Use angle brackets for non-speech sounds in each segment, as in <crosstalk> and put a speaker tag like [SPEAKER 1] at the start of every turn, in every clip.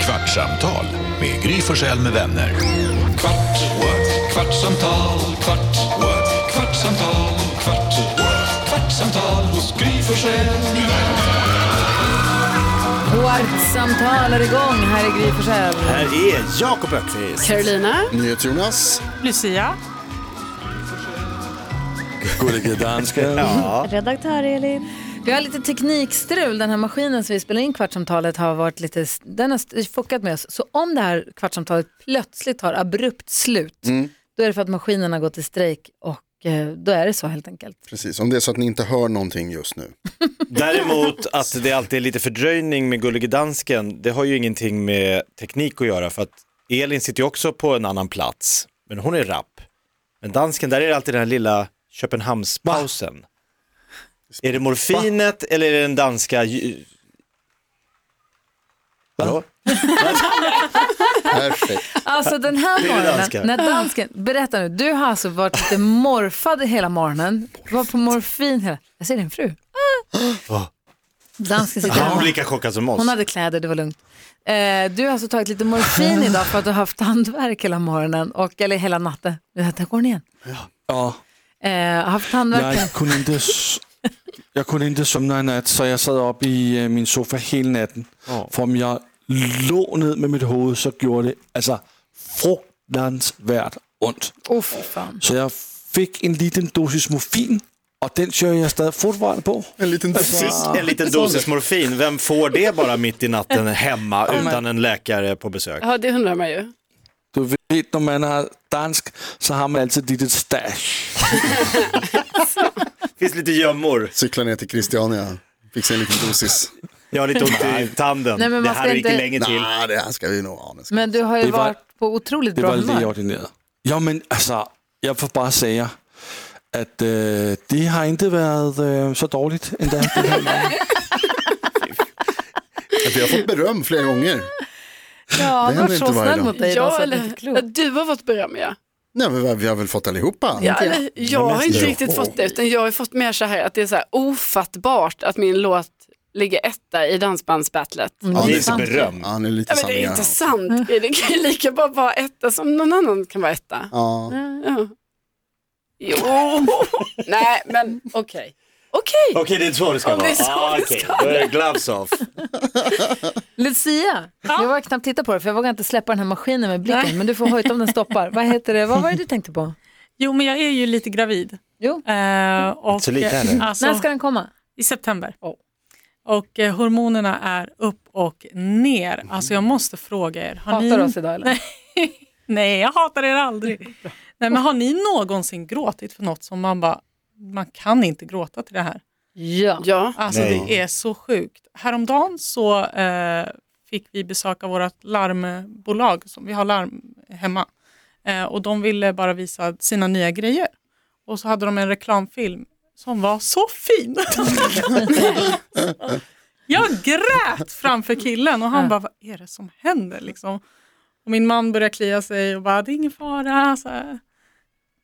[SPEAKER 1] Kvartsamtal med Gry Forssell med vänner. Kvart, what? kvartsamtal, kvart, what? kvartsamtal, kvart, what? kvartsamtal hos Gry Forssell med vänner.
[SPEAKER 2] Kvartssamtal är igång. Här är Gry Forssell.
[SPEAKER 3] Här är Jakob Öqvist.
[SPEAKER 4] Carolina.
[SPEAKER 5] NyhetsJonas.
[SPEAKER 4] Lucia.
[SPEAKER 3] Gullige dansken. <laughs> ja.
[SPEAKER 6] Redaktör Elin.
[SPEAKER 2] Vi har lite teknikstrul. Den här maskinen som vi spelar in kvartssamtalet har varit lite, den har st- fuckat med oss. Så om det här kvartssamtalet plötsligt tar abrupt slut,
[SPEAKER 3] Mm.
[SPEAKER 2] då är det för att maskinen har gått i strejk och eh, då är det så helt enkelt.
[SPEAKER 5] Precis, om det är så att ni inte hör någonting just nu.
[SPEAKER 3] Däremot att det alltid är lite fördröjning med Gullige dansken, det har ju ingenting med teknik att göra för att Elin sitter ju också på en annan plats, men hon är rapp. Men dansken, där är det alltid den här lilla Köpenhamnspausen. Är det morfinet eller är det den danska... lj- Hallå?
[SPEAKER 5] Perfekt.
[SPEAKER 2] Alltså den här
[SPEAKER 3] är
[SPEAKER 2] morgonen,
[SPEAKER 3] danska.
[SPEAKER 2] när dansken, berätta nu, du har alltså varit lite morfad hela morgonen, du var på morfin hela, jag ser din fru. Ah. Dansken sitter
[SPEAKER 3] Han var
[SPEAKER 2] hemma.
[SPEAKER 3] lika chockad som oss.
[SPEAKER 2] Hon hade kläder, det var lugnt. Eh, du har alltså tagit lite morfin idag för att du har haft tandvärk hela morgonen, och, eller hela natten. Nu, Där går den igen.
[SPEAKER 7] Ja,
[SPEAKER 2] Eh, haft tandvärk.
[SPEAKER 7] jag kunde inte, s- jag kunde inte somna i natt, så jag satt upp i eh, min soffa hela natten. För om jag låg ned med mitt huvud så gjorde det alltså, fruktansvärt ont.
[SPEAKER 2] Åh fy fan.
[SPEAKER 7] Så jag fick en liten dosis morfin och den kör jag stadig fortfarande på.
[SPEAKER 5] <laughs> En liten
[SPEAKER 3] Precis,
[SPEAKER 5] dosis.
[SPEAKER 3] en liten dosis morfin. Vem får det bara mitt i natten hemma utan en läkare på besök?
[SPEAKER 4] Ja, det undrar man ju.
[SPEAKER 7] Du vet, när man är dansk så har man alltid lite stash.
[SPEAKER 3] Finns lite gömmor.
[SPEAKER 5] Cykla ner till Christiania, fixa en liten dosis.
[SPEAKER 3] Jag har lite ont i tanden.
[SPEAKER 2] Nej, men
[SPEAKER 3] det
[SPEAKER 2] man
[SPEAKER 3] här
[SPEAKER 2] ska
[SPEAKER 3] är inte
[SPEAKER 2] inte-
[SPEAKER 3] länge
[SPEAKER 5] Nej,
[SPEAKER 3] till.
[SPEAKER 5] det här ska vi nog ha. nu ska-
[SPEAKER 2] Men du har ju
[SPEAKER 7] Det var-
[SPEAKER 2] varit på otroligt
[SPEAKER 7] Det
[SPEAKER 2] bra
[SPEAKER 7] var
[SPEAKER 2] humör.
[SPEAKER 7] lägeordinerat. Ja, men alltså, jag får bara säga att eh, det har inte varit eh, så dåligt ändå. Det här morgonen.
[SPEAKER 5] Vi har fått beröm flera gånger.
[SPEAKER 2] Ja, du har
[SPEAKER 5] händer
[SPEAKER 2] varit
[SPEAKER 5] inte
[SPEAKER 2] så
[SPEAKER 5] varje
[SPEAKER 2] snäll
[SPEAKER 5] dag.
[SPEAKER 2] mot dig idag
[SPEAKER 4] Ja,
[SPEAKER 2] så att det är
[SPEAKER 4] eller,
[SPEAKER 2] inte klokt.
[SPEAKER 4] du har fått beröm ja.
[SPEAKER 5] Nej, men vi har väl fått allihopa.
[SPEAKER 4] ja
[SPEAKER 2] jag.
[SPEAKER 4] eller, jag har inte riktigt fått det utan jag har fått mer så här att det är så här ofattbart att min låt ligger etta i dansbandsbattlet.
[SPEAKER 5] Ja,
[SPEAKER 3] Det
[SPEAKER 5] det
[SPEAKER 3] är
[SPEAKER 5] är
[SPEAKER 3] så
[SPEAKER 5] sant.
[SPEAKER 3] beröm.
[SPEAKER 5] Ja, det är lite
[SPEAKER 4] Ja, men det är
[SPEAKER 5] sanningar.
[SPEAKER 4] inte sant. Det kan ju lika bra vara etta som någon annan kan vara etta.
[SPEAKER 5] Ja.
[SPEAKER 4] Ja. Jo, <laughs> nej men okej. Okej,
[SPEAKER 3] Okej, det är så det ska
[SPEAKER 4] Om det
[SPEAKER 3] vara.
[SPEAKER 4] är så
[SPEAKER 3] ah,
[SPEAKER 4] det
[SPEAKER 3] okej.
[SPEAKER 4] ska
[SPEAKER 3] Då är det gloves off.
[SPEAKER 2] Lucia, jag vågar knappt titta på det för jag vågar inte släppa den här maskinen med blicken. Men du får hojta om den stoppar. Vad heter det? Vad var det du tänkte på?
[SPEAKER 8] Jo, men jag är ju lite gravid.
[SPEAKER 2] Jo,
[SPEAKER 8] Eh, och,
[SPEAKER 3] så lite heller.
[SPEAKER 8] alltså,
[SPEAKER 2] när ska den komma?
[SPEAKER 8] I september. Och eh, hormonerna är upp och ner.
[SPEAKER 3] Mhm.
[SPEAKER 8] Alltså jag måste fråga er. Har
[SPEAKER 2] Hatar
[SPEAKER 8] ni...
[SPEAKER 2] du oss idag eller?
[SPEAKER 8] Nej, jag hatar
[SPEAKER 2] <laughs>
[SPEAKER 8] er aldrig. Nej, men har ni någonsin gråtit för något som man bara, man kan inte gråta till det här?
[SPEAKER 2] Ja.
[SPEAKER 4] ja.
[SPEAKER 8] Alltså
[SPEAKER 3] Nej.
[SPEAKER 8] det är så sjukt. Häromdagen så eh, fick vi besöka vårt larmbolag, som vi har larm hemma. Eh, och de ville bara visa sina nya grejer. Och så hade de en reklamfilm som var så fin. <laughs> jag grät framför killen och han bara, vad är det som händer? Liksom. Och min man började klia sig och bara, det är ingen fara. Så här.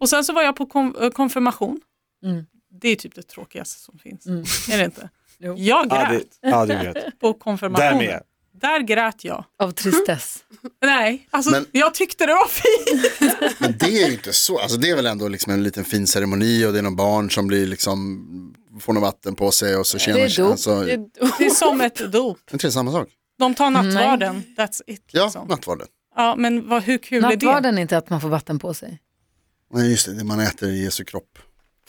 [SPEAKER 8] Och sen så var jag på kom- eh, konfirmation.
[SPEAKER 2] Mm.
[SPEAKER 8] Det är typ det tråkigaste som finns.
[SPEAKER 2] Mm.
[SPEAKER 8] Är det inte?
[SPEAKER 2] Jo.
[SPEAKER 8] Jag
[SPEAKER 3] Ja,
[SPEAKER 8] grät
[SPEAKER 3] det, ja, det grät.
[SPEAKER 8] på konfirmationen.
[SPEAKER 3] Därmed.
[SPEAKER 8] Där grät jag.
[SPEAKER 2] Av tristess.
[SPEAKER 8] Nej, alltså
[SPEAKER 5] Men-
[SPEAKER 8] jag tyckte det var fint.
[SPEAKER 5] Men det är ju inte så, alltså det är väl ändå liksom en liten fin ceremoni och det är någon barn som blir liksom, får något vatten på sig och så
[SPEAKER 2] Det är
[SPEAKER 5] tjänar sig.
[SPEAKER 2] dop.
[SPEAKER 5] Alltså,
[SPEAKER 4] Det
[SPEAKER 5] det
[SPEAKER 4] är
[SPEAKER 8] Det är som ett dop.
[SPEAKER 5] är inte det samma sak?
[SPEAKER 8] De tar nattvarden, that's it.
[SPEAKER 5] Ja,
[SPEAKER 8] liksom.
[SPEAKER 5] nattvarden.
[SPEAKER 8] ja, men vad, hur kul är det?
[SPEAKER 2] Nattvarden är inte att man får vatten på sig.
[SPEAKER 5] Nej, just det, det man äter i Jesu kropp.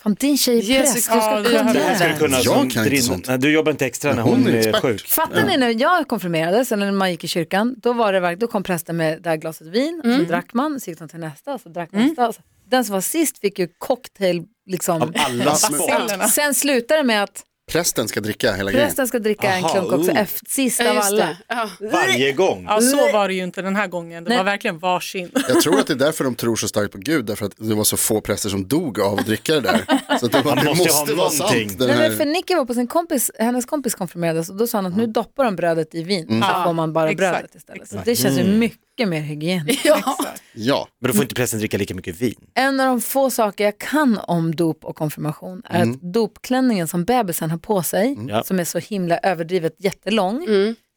[SPEAKER 2] Fan, din tjej är
[SPEAKER 4] Jesus,
[SPEAKER 2] präst, du ska
[SPEAKER 8] ja,
[SPEAKER 2] kunna
[SPEAKER 3] Det
[SPEAKER 8] det
[SPEAKER 2] det
[SPEAKER 3] här ska du
[SPEAKER 2] här.
[SPEAKER 3] kunna
[SPEAKER 5] Jag
[SPEAKER 3] som
[SPEAKER 5] kan inte
[SPEAKER 3] drin-
[SPEAKER 5] sånt.
[SPEAKER 3] Nej, Du jobbar inte extra när
[SPEAKER 5] Men hon
[SPEAKER 3] hon
[SPEAKER 5] är
[SPEAKER 3] är
[SPEAKER 5] expert.
[SPEAKER 3] sjuk.
[SPEAKER 2] Fattar ni när jag konfirmerades, eller när man gick i kyrkan, då, var det, verk- då kom prästen med det här glaset vin, och så drack man, så gick de till nästa, och så drack man nästa. och så- Den som var sist fick ju cocktail, liksom.
[SPEAKER 3] Av alla små.
[SPEAKER 8] Cellerna.
[SPEAKER 2] Sen slutar det med att
[SPEAKER 5] Prästen ska dricka hela grejen.
[SPEAKER 2] prästen ska dricka en
[SPEAKER 3] Aha,
[SPEAKER 2] klunk också,
[SPEAKER 3] oh.
[SPEAKER 2] efter, sist
[SPEAKER 4] Ja,
[SPEAKER 2] av
[SPEAKER 4] just
[SPEAKER 2] alla.
[SPEAKER 4] det. Ja.
[SPEAKER 3] Varje gång.
[SPEAKER 8] Ja, så var det ju inte den här gången. Det var verkligen varsin.
[SPEAKER 5] Jag tror att det är därför de tror så starkt på Gud, därför att det var så få präster som dog av att dricka det där. Så att det, bara,
[SPEAKER 3] Man
[SPEAKER 5] det
[SPEAKER 3] måste ju
[SPEAKER 5] måste,
[SPEAKER 3] ha
[SPEAKER 5] vara
[SPEAKER 3] någonting.
[SPEAKER 5] sant. Den
[SPEAKER 2] Nej, men
[SPEAKER 5] här,
[SPEAKER 2] för Nicky var på sin kompis, hennes kompis konfirmerades och då sa han att nu doppar de brödet i vin, så
[SPEAKER 5] Mm.
[SPEAKER 8] Ja,
[SPEAKER 2] får man bara
[SPEAKER 8] exakt,
[SPEAKER 2] brödet istället. Så det känns ju mycket mer hygieniskt.
[SPEAKER 8] <laughs>
[SPEAKER 5] ja,
[SPEAKER 3] Men då får inte prästen dricka lika mycket vin.
[SPEAKER 2] En av de få saker jag kan om dop och konfirmation är att dopklänningen som bebisen har på sig,
[SPEAKER 3] Mm. Ja.
[SPEAKER 2] som är så himla överdrivet jättelång,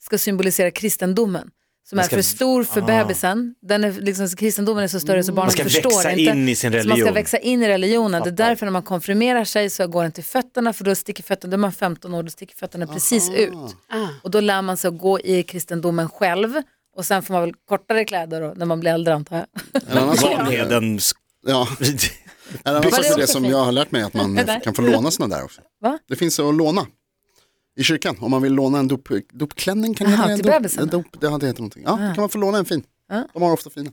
[SPEAKER 2] ska symbolisera kristendomen. som
[SPEAKER 3] Man
[SPEAKER 2] är
[SPEAKER 3] ska- Ah.
[SPEAKER 2] för stor för bebisen. Den är, liksom, kristendomen är så större så barnen
[SPEAKER 3] Man ska
[SPEAKER 2] förstår
[SPEAKER 3] växa
[SPEAKER 2] inte.
[SPEAKER 3] in i sin
[SPEAKER 2] Så man ska
[SPEAKER 3] religion.
[SPEAKER 2] växa in i religionen. Det är därför när man konfirmerar sig så går den till fötterna för då sticker fötterna, då är man 15 år, då sticker fötterna precis ut. Och då lär man sig att gå i kristendomen själv och sen får man väl kortare kläder då, när man blir äldre antar jag. <laughs>
[SPEAKER 5] En annan sak,
[SPEAKER 3] Vanheden.
[SPEAKER 5] ja, en
[SPEAKER 2] Var
[SPEAKER 5] annan
[SPEAKER 2] det
[SPEAKER 5] sak är det
[SPEAKER 2] också
[SPEAKER 5] som
[SPEAKER 2] fint?
[SPEAKER 5] jag har lärt mig är att man eh, kan få låna sådana där också.
[SPEAKER 2] Va?
[SPEAKER 5] Det finns att låna. I kyrkan, om man vill låna en dop, dopklänning kan det
[SPEAKER 2] Aha,
[SPEAKER 5] heta det?
[SPEAKER 2] till
[SPEAKER 5] En
[SPEAKER 2] bebisen? Ah.
[SPEAKER 5] en dop, det, ja, det heter någonting. Ja, då kan man få låna en fin.
[SPEAKER 2] Ja.
[SPEAKER 5] De har ofta fina.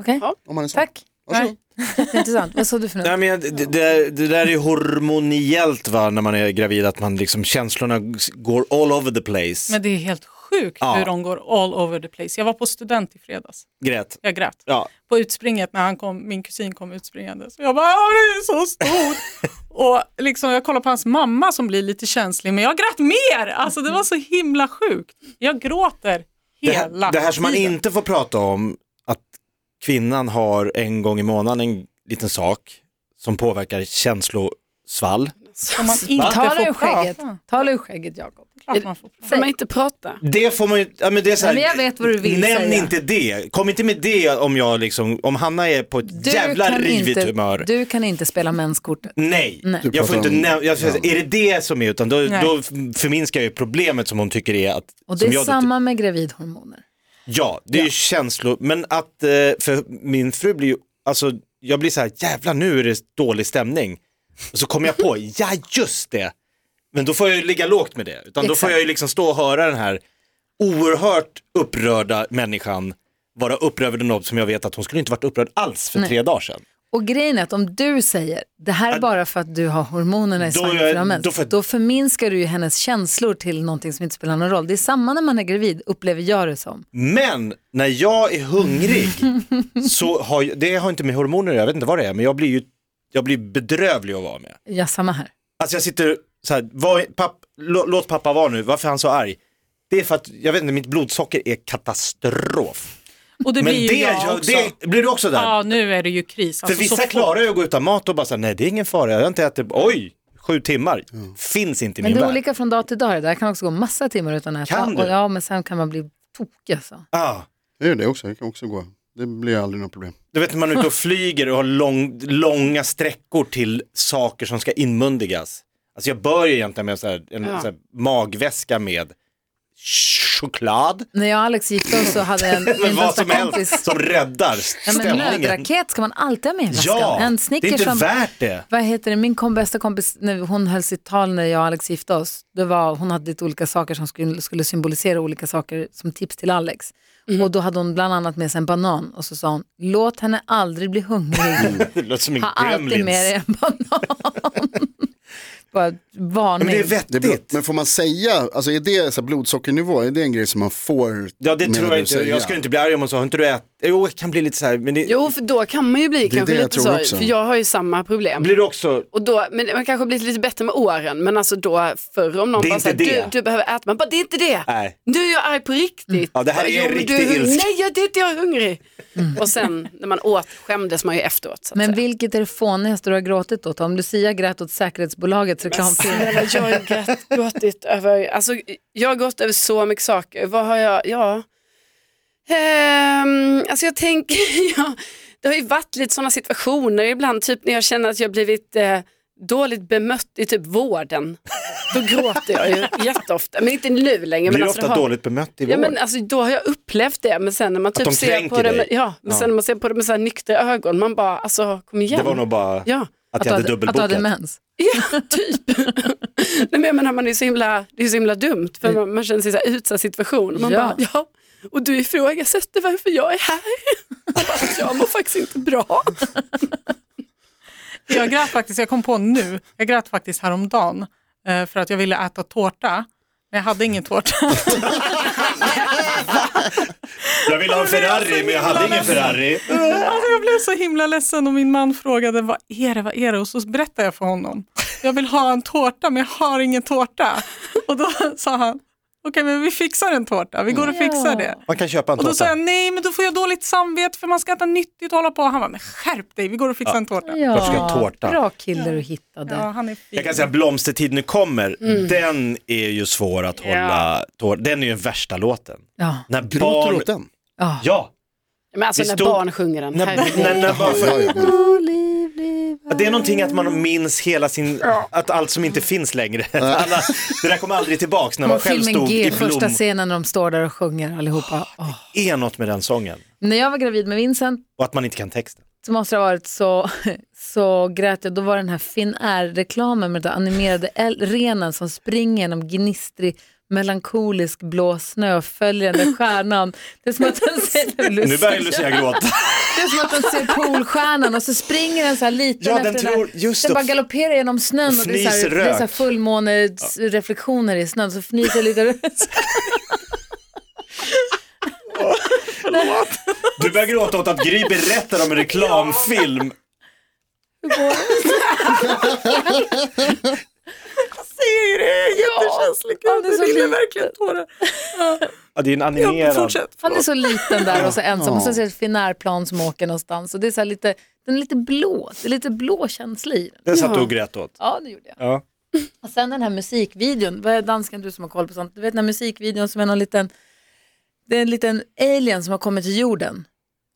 [SPEAKER 2] Okej,
[SPEAKER 5] Om man är sån.
[SPEAKER 2] tack.
[SPEAKER 5] Varsågod.
[SPEAKER 2] Intressant. Vad sa du för något?
[SPEAKER 3] <laughs> Nej, men det, det, det där är ju hormoniellt va, när man är gravid, att man liksom, känslorna går all over the place.
[SPEAKER 8] Men det är helt sjukt
[SPEAKER 3] Ja.
[SPEAKER 8] hur de går all over the place. Jag var på student i fredags.
[SPEAKER 3] Grät.
[SPEAKER 8] Jag grät.
[SPEAKER 3] Ja.
[SPEAKER 8] På utspringet när han kom, min kusin kom utspringande. Så jag bara, "Ah, det är så stort.
[SPEAKER 3] <laughs>
[SPEAKER 8] och liksom, jag kollar på hans mamma som blir lite känslig, men jag grät mer. Alltså det var så himla sjukt. Jag gråter
[SPEAKER 3] Det,
[SPEAKER 8] hela
[SPEAKER 3] här, det här som man
[SPEAKER 8] tiden.
[SPEAKER 3] inte får prata om, att kvinnan har en gång i månaden en liten sak som påverkar känslosvall.
[SPEAKER 8] Som man inte
[SPEAKER 2] Tala
[SPEAKER 8] får
[SPEAKER 2] ur skägget,
[SPEAKER 8] prata.
[SPEAKER 2] tala ur skägget Jakob.
[SPEAKER 8] Klart man får prata.
[SPEAKER 4] Får man inte prata?
[SPEAKER 3] Det får man ju, ja, men det är så här,
[SPEAKER 2] Nej, men jag vet vad du vill
[SPEAKER 3] Nämn
[SPEAKER 2] säga.
[SPEAKER 3] inte det, kom inte med det om jag liksom, om Hanna är på ett jävla rivigt
[SPEAKER 2] inte,
[SPEAKER 3] humör.
[SPEAKER 2] du kan inte spela mänskortet.
[SPEAKER 3] Nej,
[SPEAKER 2] Nej.
[SPEAKER 3] jag får
[SPEAKER 5] pratar
[SPEAKER 3] inte
[SPEAKER 5] om-
[SPEAKER 3] nämna, jag, säger, är det det som är, utan då,
[SPEAKER 8] Nej.
[SPEAKER 3] då förminskar jag ju problemet som hon tycker är att,
[SPEAKER 2] Och det
[SPEAKER 3] som
[SPEAKER 2] är
[SPEAKER 3] jag typ-
[SPEAKER 2] samma med gravidhormoner.
[SPEAKER 3] Ja, det är ju känslor, men att, eh, för min fru blir ju, alltså jag blir så här, jävlar nu är det dålig stämning. Och så kommer jag på, ja just det, men då får jag ju ligga lågt med det, utan då får
[SPEAKER 2] Exakt.
[SPEAKER 3] jag ju liksom stå och höra den här oerhört upprörda människan vara upprörd över något som jag vet att hon skulle inte varit upprörd alls för tre dagar sedan.
[SPEAKER 2] Och grejen är att om du säger det här är bara för att du har hormonerna i
[SPEAKER 3] Då
[SPEAKER 2] svangen
[SPEAKER 3] är-
[SPEAKER 2] för mens,
[SPEAKER 3] då
[SPEAKER 2] då,
[SPEAKER 3] för-
[SPEAKER 2] förminskar du ju hennes känslor till någonting som inte spelar någon roll. Det är samma när man är gravid, upplever jag det som.
[SPEAKER 3] Men när jag är hungrig så har jag, det har inte med hormoner att göra, jag vet inte vad det är, men jag blir ju jag blir bedrövlig att vara med.
[SPEAKER 2] Ja, samma här.
[SPEAKER 3] Alltså jag sitter så här, vad, är- papp, lå, låt pappa vara nu, varför är han så arg? Det är för att, jag vet inte, mitt blodsocker är katastrof.
[SPEAKER 8] Och det
[SPEAKER 3] Men
[SPEAKER 8] blir ju
[SPEAKER 3] det,
[SPEAKER 8] jag
[SPEAKER 3] gör-
[SPEAKER 8] också.
[SPEAKER 3] det blir du också där.
[SPEAKER 8] Ja, nu är det ju kris.
[SPEAKER 3] för
[SPEAKER 8] Alltså, så
[SPEAKER 3] vissa
[SPEAKER 8] fort-
[SPEAKER 3] klarar ju att gå utan mat och bara säga nej det är ingen fara, jag har inte ätit, oj, sju timmar, finns inte i
[SPEAKER 2] Men
[SPEAKER 3] min
[SPEAKER 2] det är
[SPEAKER 3] värld.
[SPEAKER 2] olika från dag till dag. Det där kan också gå massa timmar utan att äta.
[SPEAKER 3] Kan du?
[SPEAKER 2] Och, ja, men sen kan man bli tokig alltså.
[SPEAKER 3] Ah,
[SPEAKER 5] Jag gör det också, jag kan också gå. Det blir aldrig något problem.
[SPEAKER 3] du vet när man är ute och flyger och har lång, långa sträckor till saker som ska inmundigas. Alltså jag bör ju egentligen med så här, en så här, magväska med ch- choklad,
[SPEAKER 2] När jag och Alex gick oss så hade jag en,
[SPEAKER 3] <laughs> men
[SPEAKER 2] min
[SPEAKER 3] vad
[SPEAKER 2] bästa
[SPEAKER 3] som helst
[SPEAKER 2] kompis...
[SPEAKER 3] som
[SPEAKER 2] Ja,
[SPEAKER 3] räddar
[SPEAKER 2] men
[SPEAKER 3] stämningen.
[SPEAKER 2] nödraket ska man alltid ha med i väskan.
[SPEAKER 3] Ja,
[SPEAKER 2] en
[SPEAKER 3] det är
[SPEAKER 2] Snickers
[SPEAKER 3] inte
[SPEAKER 2] som-
[SPEAKER 3] värt det.
[SPEAKER 2] Vad heter det, min kom, bästa kompis, när hon höll sitt tal när jag och Alex gifte oss, det var, hon hade lite olika saker som skulle, skulle symbolisera olika saker som tips till Alex. Och då hade hon bland annat med sig en banan och så sa hon, låt henne aldrig bli
[SPEAKER 3] <laughs>
[SPEAKER 2] hungrig,
[SPEAKER 3] Det låter som en
[SPEAKER 2] ha alltid med dig
[SPEAKER 3] gremlins.
[SPEAKER 2] en banan. <laughs> Bara ett varning.
[SPEAKER 3] Men det är
[SPEAKER 5] Det är bra.
[SPEAKER 3] vettigt.
[SPEAKER 5] Men får man säga, alltså är det så här blodsockernivå, är det en grej som man får?
[SPEAKER 3] Ja det
[SPEAKER 5] menar
[SPEAKER 3] tror
[SPEAKER 5] du,
[SPEAKER 3] jag inte,
[SPEAKER 5] säga?
[SPEAKER 3] jag skulle inte bli arg om hon sa, har inte du ätit? Jo jag kan bli lite så här, men det
[SPEAKER 4] Jo, för då kan man ju bli
[SPEAKER 5] det
[SPEAKER 4] kanske
[SPEAKER 5] jag
[SPEAKER 4] lite
[SPEAKER 5] tror
[SPEAKER 4] så.
[SPEAKER 5] också.
[SPEAKER 4] För jag har ju samma problem.
[SPEAKER 3] blir du också,
[SPEAKER 4] Och då, men man kanske blir lite bättre med åren, men alltså då förr om någon
[SPEAKER 3] Det är
[SPEAKER 4] bara
[SPEAKER 3] inte
[SPEAKER 4] såhär, du,
[SPEAKER 3] det.
[SPEAKER 4] du behöver äta, man bara det är inte det.
[SPEAKER 3] nej.
[SPEAKER 4] Nu är jag arg på riktigt.
[SPEAKER 3] Ja, det här är
[SPEAKER 4] Jo,
[SPEAKER 3] en
[SPEAKER 4] men
[SPEAKER 3] riktig
[SPEAKER 4] du är hungrig.
[SPEAKER 3] ilska.
[SPEAKER 4] Nej, jag, det är inte jag är hungrig. Och sen när man åt skämdes man ju efteråt. Så att
[SPEAKER 2] Men
[SPEAKER 4] säga.
[SPEAKER 2] vilket är det fånigaste du har gråtit åt? Om Lucia grät åt säkerhetsbolagets reklamfilm.
[SPEAKER 4] Snälla, Alltså, jag har ju grått- gråtit över, alltså, jag har gått över så mycket saker. Vad har jag, ja. Ehm, alltså jag tänker, <laughs> ja, det har ju varit lite sådana situationer ibland, typ när jag känner att jag blivit eh, dåligt bemött i typ vården. Då gråter jag ju jätteofta, men inte nu längre.
[SPEAKER 3] blir
[SPEAKER 4] men
[SPEAKER 3] du
[SPEAKER 4] alltså, det
[SPEAKER 3] ofta
[SPEAKER 4] har-
[SPEAKER 3] dåligt bemött i vår?
[SPEAKER 4] Ja, men alltså, då har jag upplevt det, men sen när man typ
[SPEAKER 3] de
[SPEAKER 4] ser
[SPEAKER 3] kränker
[SPEAKER 4] på det med,
[SPEAKER 3] dig?
[SPEAKER 4] ja, men
[SPEAKER 3] Ja.
[SPEAKER 4] Sen när man ser på det med så här nyktra ögon, man bara, alltså kom igen.
[SPEAKER 3] det var nog bara
[SPEAKER 4] Ja.
[SPEAKER 3] att
[SPEAKER 2] du
[SPEAKER 3] jag hade
[SPEAKER 2] hade- att du
[SPEAKER 3] dubbelbokat.
[SPEAKER 2] hade mens.
[SPEAKER 4] Ja, typ. Nej, men jag menar, man är så himla, det är så himla dumt för man, man känner sig i så här utsatt situation. Man
[SPEAKER 2] Ja.
[SPEAKER 4] bara, Mm. ja, och du ifrågasätter varför jag är här. <laughs> Man bara, jag mår faktiskt inte bra.
[SPEAKER 8] Jag grät faktiskt, jag kom på nu, jag grät faktiskt häromdagen eh, för att jag ville äta tårta. Men jag hade ingen tårta.
[SPEAKER 3] Jag ville ha en Ferrari men jag hade ingen Ferrari.
[SPEAKER 8] Alltså jag blev så himla ledsen och min man frågade vad är det, vad är det? Och så berättade jag för honom. Jag vill ha en tårta men jag har ingen tårta. Och då <laughs> sa han, okej men vi fixar en tårta, vi går och fixar det.
[SPEAKER 3] Man kan köpa en
[SPEAKER 8] Och då sa
[SPEAKER 3] tårta.
[SPEAKER 8] jag nej men då får jag dåligt samvete för man ska äta nyttigt och hålla på. Han bara, men skärp dig, vi går och fixar en tårta.
[SPEAKER 2] Ja,
[SPEAKER 3] Varför ska jag ha tårta?
[SPEAKER 2] Bra kille du hittade.
[SPEAKER 8] Ja, han är fin.
[SPEAKER 3] Jag kan säga Blomstertid nu kommer, den är ju svår att hålla tår. Den är ju den värsta låten.
[SPEAKER 2] Ja.
[SPEAKER 3] När
[SPEAKER 5] Gråter
[SPEAKER 3] barn...
[SPEAKER 5] du åt den?
[SPEAKER 2] Ja.
[SPEAKER 3] Ja,
[SPEAKER 4] Men alltså
[SPEAKER 3] Vi
[SPEAKER 4] när
[SPEAKER 3] stod-
[SPEAKER 4] barn sjunger den.
[SPEAKER 3] när,
[SPEAKER 4] herregud.
[SPEAKER 3] när, när barn
[SPEAKER 5] Ja, ja, ja.
[SPEAKER 3] Det är någonting att man minns hela sin, att allt som inte finns längre. <laughs> Alla, det där kommer aldrig tillbaks när man
[SPEAKER 2] Och
[SPEAKER 3] själv
[SPEAKER 2] filmen
[SPEAKER 3] stod i
[SPEAKER 2] G,
[SPEAKER 3] blom.
[SPEAKER 2] första scenen när de står där och sjunger allihopa. Åh.
[SPEAKER 3] Det är något med den sången
[SPEAKER 2] När jag var gravid med Vincent
[SPEAKER 3] och att man inte kan texten.
[SPEAKER 2] så måste det ha varit så, <laughs> så grät jag. Då var den här Finnair-reklamen med den där animerade el- renen som springer genom gnistrig melankolisk blå snö och följer den där stjärnan. Det är som att
[SPEAKER 3] <laughs>
[SPEAKER 2] den ser,
[SPEAKER 3] Nu börjar Lucia gråta.
[SPEAKER 2] det är som att den ser polstjärnan och så springer den så här liten
[SPEAKER 3] Ja, den
[SPEAKER 2] efter
[SPEAKER 3] tror-
[SPEAKER 2] den,
[SPEAKER 3] just
[SPEAKER 2] den
[SPEAKER 3] det.
[SPEAKER 2] bara galopperar genom snön och det är så här,
[SPEAKER 3] Fnyser
[SPEAKER 2] det är så här
[SPEAKER 3] rök.
[SPEAKER 2] fullmånereflektioner i snön så fnyser
[SPEAKER 3] <laughs>
[SPEAKER 2] lite.
[SPEAKER 3] Du börjar gråta åt att Gry berättar om en reklamfilm.
[SPEAKER 8] ser det, jag är jättekänslig.
[SPEAKER 2] Ja, det är så
[SPEAKER 8] Jag ville
[SPEAKER 2] likt.
[SPEAKER 8] verkligen tårar.
[SPEAKER 3] Ja, det är en
[SPEAKER 8] Ja,
[SPEAKER 3] animerad.
[SPEAKER 8] fortsätt.
[SPEAKER 2] Han är så liten där och så ensam och sen ser jag ett finärplan som åker någonstans och det är så här lite, den är lite blå, det är lite blå känsla i den.
[SPEAKER 3] Den satt du och grät åt.
[SPEAKER 2] Ja, det gjorde jag.
[SPEAKER 3] Ja.
[SPEAKER 2] Och sen den här musikvideon, vad är dansken du som har koll på sånt? Du vet den här musikvideon som är någon liten, det är en liten alien som har kommit till jorden.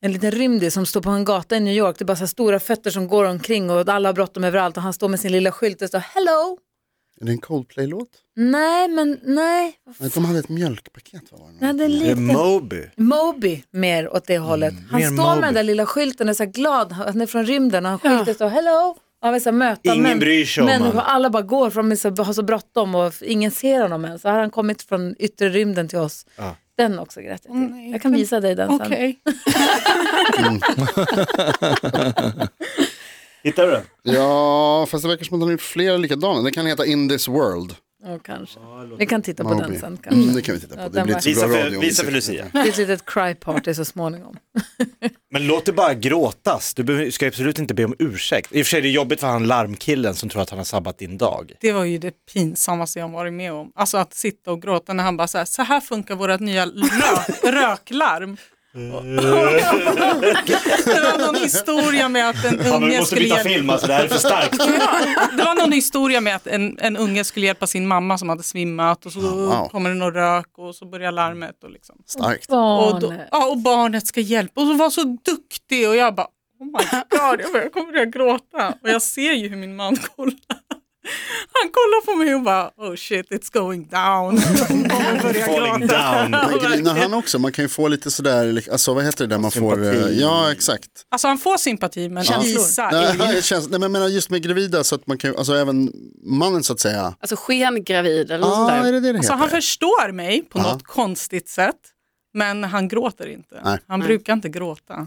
[SPEAKER 2] En liten rymdis som står på en gata i New York, det är bara så här stora fötter som går omkring och alla har bråttom överallt och han står med sin lilla skylt och står hello.
[SPEAKER 5] Är det en Coldplay-låt?
[SPEAKER 2] Nej, men nej. vad
[SPEAKER 5] Nej, de hade ett mjölkpaket va? Var det
[SPEAKER 2] Nej, det är
[SPEAKER 3] Det är
[SPEAKER 2] likt en
[SPEAKER 3] Moby.
[SPEAKER 2] Moby mer åt det hållet. Han
[SPEAKER 3] Mm, mer
[SPEAKER 2] står
[SPEAKER 3] Moby.
[SPEAKER 2] med den där lilla skylten och är så här glad, han är från rymden och han skylten står hello. Och han vill så här möta
[SPEAKER 3] Ingen bryr sig om
[SPEAKER 2] människor,
[SPEAKER 3] han.
[SPEAKER 2] alla bara går för de är så, har så bråttom och ingen ser honom än. Så här har han kommit från yttre rymden till oss. Den också grät jag till.
[SPEAKER 8] nej,
[SPEAKER 2] Jag kan
[SPEAKER 8] men-
[SPEAKER 2] visa dig den sen.
[SPEAKER 8] Okej.
[SPEAKER 3] Hittar du den?
[SPEAKER 5] Ja, fast det verkar som att de har gjort flera likadana. Den kan heta In this world.
[SPEAKER 2] Ja, kanske. Vi kan titta på den
[SPEAKER 5] Moby.
[SPEAKER 2] sen kanske.
[SPEAKER 5] Mm, det kan vi titta på.
[SPEAKER 2] Ja,
[SPEAKER 5] det
[SPEAKER 2] den
[SPEAKER 5] blir
[SPEAKER 2] var-
[SPEAKER 5] inte så
[SPEAKER 3] Visa
[SPEAKER 5] bra
[SPEAKER 3] för,
[SPEAKER 5] radio. om
[SPEAKER 3] visa
[SPEAKER 5] vi
[SPEAKER 3] för
[SPEAKER 5] ser-
[SPEAKER 3] Lucia.
[SPEAKER 2] Det är ett litet cry party så småningom.
[SPEAKER 3] Men låt det bara gråtas. Du behöver- ska absolut inte be om ursäkt. I och för sig är det jobbigt för han larmkillen som tror att han har sabbat din dag.
[SPEAKER 8] Det var ju det pinsammaste jag varit med om. Alltså att sitta och gråta när han bara så här, så här funkar vårt nya rök, röklarm. det var någon historia med att en
[SPEAKER 3] Ja, men
[SPEAKER 8] unge
[SPEAKER 3] vi måste
[SPEAKER 8] skulle
[SPEAKER 3] byta
[SPEAKER 8] hjälpa...
[SPEAKER 3] film, alltså det här är för starkt.
[SPEAKER 8] Det var någon historia med att en, en unge skulle hjälpa sin mamma som hade svimmat och så
[SPEAKER 5] wow.
[SPEAKER 8] kommer det någon rök och så börjar larmet. Och, liksom.
[SPEAKER 5] Starkt.
[SPEAKER 8] och, då,
[SPEAKER 2] Barnet.
[SPEAKER 8] ja, och barnet ska hjälpa och så var så duktig och jag bara oh my god, jag, bara, jag kommer börja gråta och jag ser ju hur min man kollar. Han kollar på mig och bara oh shit it's going down. Och kommer börja
[SPEAKER 3] Falling
[SPEAKER 8] gråta.
[SPEAKER 3] down.
[SPEAKER 5] Men grinar han också? Man kan ju få lite sådär, lik- alltså vad heter det där man får? eh,
[SPEAKER 3] Sympati.
[SPEAKER 5] Ja, exakt.
[SPEAKER 8] Alltså han får sympati men
[SPEAKER 2] Känslor.
[SPEAKER 8] Isa
[SPEAKER 5] Nej,
[SPEAKER 8] är ju...
[SPEAKER 5] det känns, nej, men jag menar just med gravida så att man kan ju, alltså även mannen så att säga.
[SPEAKER 4] Alltså skengravid eller
[SPEAKER 5] Ja,
[SPEAKER 4] något sånt
[SPEAKER 5] är
[SPEAKER 4] där.
[SPEAKER 5] det det det
[SPEAKER 8] Alltså
[SPEAKER 5] heter?
[SPEAKER 8] han förstår mig på
[SPEAKER 5] Ja.
[SPEAKER 8] något konstigt sätt men han gråter inte.
[SPEAKER 5] Nej.
[SPEAKER 8] Han brukar inte gråta.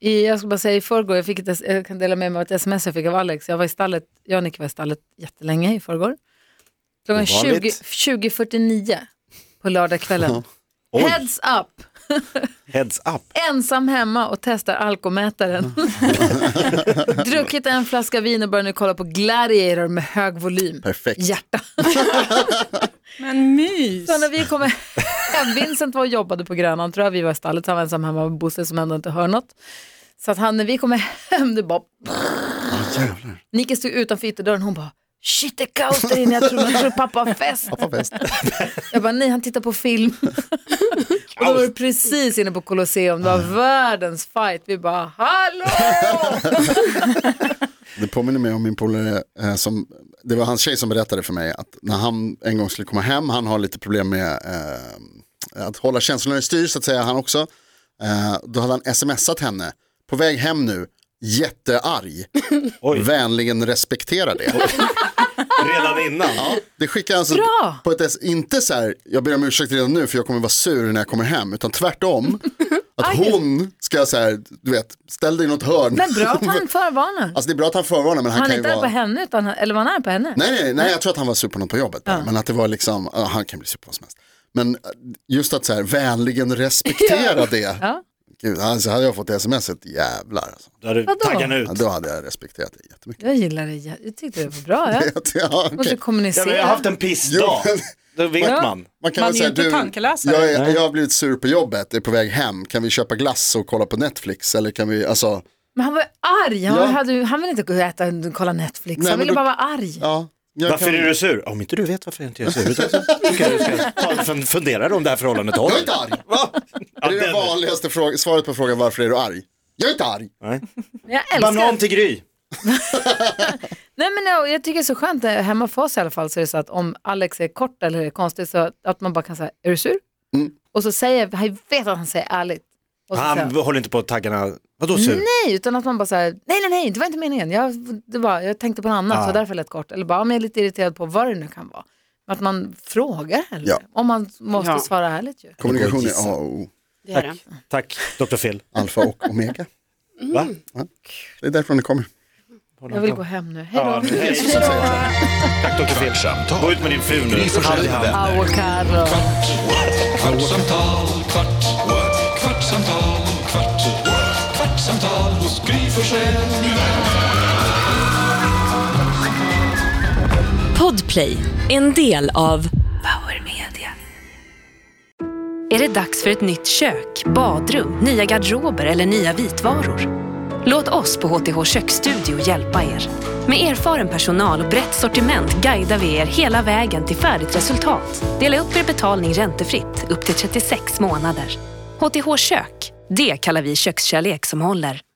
[SPEAKER 2] I, jag ska bara säga i förrgår, jag, fick ett, s- jag kan dela med mig av ett sms jag fick av Alex. Jag var i stallet, jag och Nick var i stallet jättelänge i förrgår. Klockan 20,
[SPEAKER 3] Ovanligt.
[SPEAKER 2] 20.49 på lördagskvällen.
[SPEAKER 3] <laughs> Oj,
[SPEAKER 2] Heads up!
[SPEAKER 3] heads up.
[SPEAKER 2] Ensam hemma och testar
[SPEAKER 3] <laughs>
[SPEAKER 2] alkomätaren. Druckit en flaska vin och börjar nu kolla på Gladiator med hög volym.
[SPEAKER 5] Perfekt.
[SPEAKER 2] Hjärta.
[SPEAKER 8] Men mys!
[SPEAKER 2] Så när vi kommer hem, Vincent var och jobbade på Grönan tror jag, vi var i stallet, så han var ensam hemma med Bosse som ändå inte hör något. Så att han, när vi kommer hem, det bara... Nike stod utanför ytterdörren, hon bara Shit det är kaos där inne, jag tror, jag tror pappa har fest.
[SPEAKER 5] Pappafest.
[SPEAKER 2] <laughs> Jag bara nej han tittar på
[SPEAKER 5] <laughs>
[SPEAKER 2] film. och då var det precis inne på Colosseum, det var världens fight. Vi bara hallå!
[SPEAKER 5] <laughs> Det påminner mig om min polare, eh, som, det var hans tjej som berättade för mig att när han en gång skulle komma hem, han har lite problem med eh, att hålla känslorna i styr så att säga, han också. Eh, då hade han smsat henne, på väg hem nu, jättearg,
[SPEAKER 3] Oj.
[SPEAKER 5] vänligen respektera det.
[SPEAKER 3] Redan innan.
[SPEAKER 5] Det skickar han alltså
[SPEAKER 2] Bra!
[SPEAKER 5] på ett, s- inte så här, jag ber om ursäkt redan nu för jag kommer vara sur när jag kommer hem,
[SPEAKER 2] <laughs>
[SPEAKER 5] utan tvärtom. Att hon ska så här, du vet, ställ dig i något hörn.
[SPEAKER 2] Men bra att han förvarnar.
[SPEAKER 5] Alltså det är bra att han förvarnar men han,
[SPEAKER 2] Han är
[SPEAKER 5] kan ju
[SPEAKER 2] inte arg
[SPEAKER 5] vara...
[SPEAKER 2] på henne, utan, han- eller var han arg på henne?
[SPEAKER 5] Nej, nej, nej, jag tror att han var sur på något på jobbet. bara. Men att det var liksom, ja, han kan bli sur på vad som helst. Men eh, just att så här, vänligen respektera det.
[SPEAKER 2] Ja.
[SPEAKER 5] Gud, alltså hade jag fått det smset, jävlar alltså.
[SPEAKER 3] Då hade
[SPEAKER 2] Vadå?
[SPEAKER 3] taggarna ut.
[SPEAKER 5] Ja, då hade jag respekterat det jättemycket. <laughs>
[SPEAKER 2] Jag gillar det, jag tyckte det var bra. Jag
[SPEAKER 5] ja, okej.
[SPEAKER 2] måste
[SPEAKER 3] Ja, men jag
[SPEAKER 2] kommunicera.
[SPEAKER 3] har haft en pissdag. då vet
[SPEAKER 2] Ja.
[SPEAKER 3] man.
[SPEAKER 5] Man kan
[SPEAKER 8] Man
[SPEAKER 5] väl
[SPEAKER 8] är
[SPEAKER 5] säga,
[SPEAKER 8] inte
[SPEAKER 5] du,
[SPEAKER 8] tankeläsare.
[SPEAKER 5] jag, är, jag har blivit sur på jobbet, är på väg hem, kan vi köpa glass och kolla på Netflix? Eller kan vi, alltså,
[SPEAKER 2] Men han var ju arg, han,
[SPEAKER 5] Ja.
[SPEAKER 2] hade, ju- han ville inte gå och äta och kolla Netflix,
[SPEAKER 5] Nej,
[SPEAKER 2] han
[SPEAKER 5] men
[SPEAKER 2] ville
[SPEAKER 5] då-
[SPEAKER 2] bara vara arg.
[SPEAKER 5] ja. jag
[SPEAKER 3] Varför
[SPEAKER 5] kan-
[SPEAKER 3] är du sur? Om inte du vet varför jag inte är sur, utan så tycker jag du ska ta en fun- fundera om det här förhållandet
[SPEAKER 5] Jag är
[SPEAKER 3] håller.
[SPEAKER 5] inte arg.
[SPEAKER 3] Va? Ja,
[SPEAKER 5] <laughs> Det är det
[SPEAKER 3] den-
[SPEAKER 5] vanligaste fråga, svaret på frågan varför är du arg? Jag är inte arg.
[SPEAKER 3] Nej.
[SPEAKER 2] Men Jag älskar,
[SPEAKER 3] Banan till Gry.
[SPEAKER 2] nej men jag, jag tycker det är så skönt, eh, hemma för oss i alla fall så är det så att om Alex är kort eller är konstig så att man bara kan säga, är du sur? Och så säger, jag vet att han säger ärligt. Och så säger
[SPEAKER 3] Han
[SPEAKER 2] han,
[SPEAKER 3] håller inte på taggarna. Vadå sur?
[SPEAKER 2] nej, utan att man bara säger, nej nej nej, det var inte meningen, jag, det var, jag tänkte på något annat,
[SPEAKER 3] Ah.
[SPEAKER 2] så därför lät kort. Eller bara, men jag är lite irriterad på vad det nu kan vara. Men Att man frågar eller
[SPEAKER 5] Ja.
[SPEAKER 2] om man måste
[SPEAKER 4] Ja.
[SPEAKER 2] svara ärligt ju.
[SPEAKER 5] Kommunikation
[SPEAKER 3] går
[SPEAKER 5] är
[SPEAKER 3] att
[SPEAKER 5] A och O,
[SPEAKER 4] Det är det.
[SPEAKER 3] Tack, tack, Dr. Phil.
[SPEAKER 5] alfa och omega.
[SPEAKER 3] Va?
[SPEAKER 5] Det är därifrån det kommer.
[SPEAKER 2] Jag vill gå hem nu, hej
[SPEAKER 3] Ja,
[SPEAKER 2] då.
[SPEAKER 3] hej. Tack Dr. Phil.
[SPEAKER 1] Kvartsamtal.
[SPEAKER 3] Gå ut med din fru
[SPEAKER 1] Gry
[SPEAKER 3] nu.
[SPEAKER 1] Forssell med vänner.
[SPEAKER 2] Avocado.
[SPEAKER 1] Kvartsamtal, kvart, what? kvartsamtal, kvart, what? kvartsamtal hos Gry Forssell med vänner.
[SPEAKER 6] Podplay, en del av Power Media. Är det dags för ett nytt kök, badrum, nya garderober eller nya vitvaror? Låt oss på HTH Köksstudio hjälpa er. Med erfaren personal och brett sortiment guidar vi er hela vägen till färdigt resultat. Dela upp er betalning räntefritt upp till 36 månader. HTH Kök, det kallar vi kökskärlek som håller.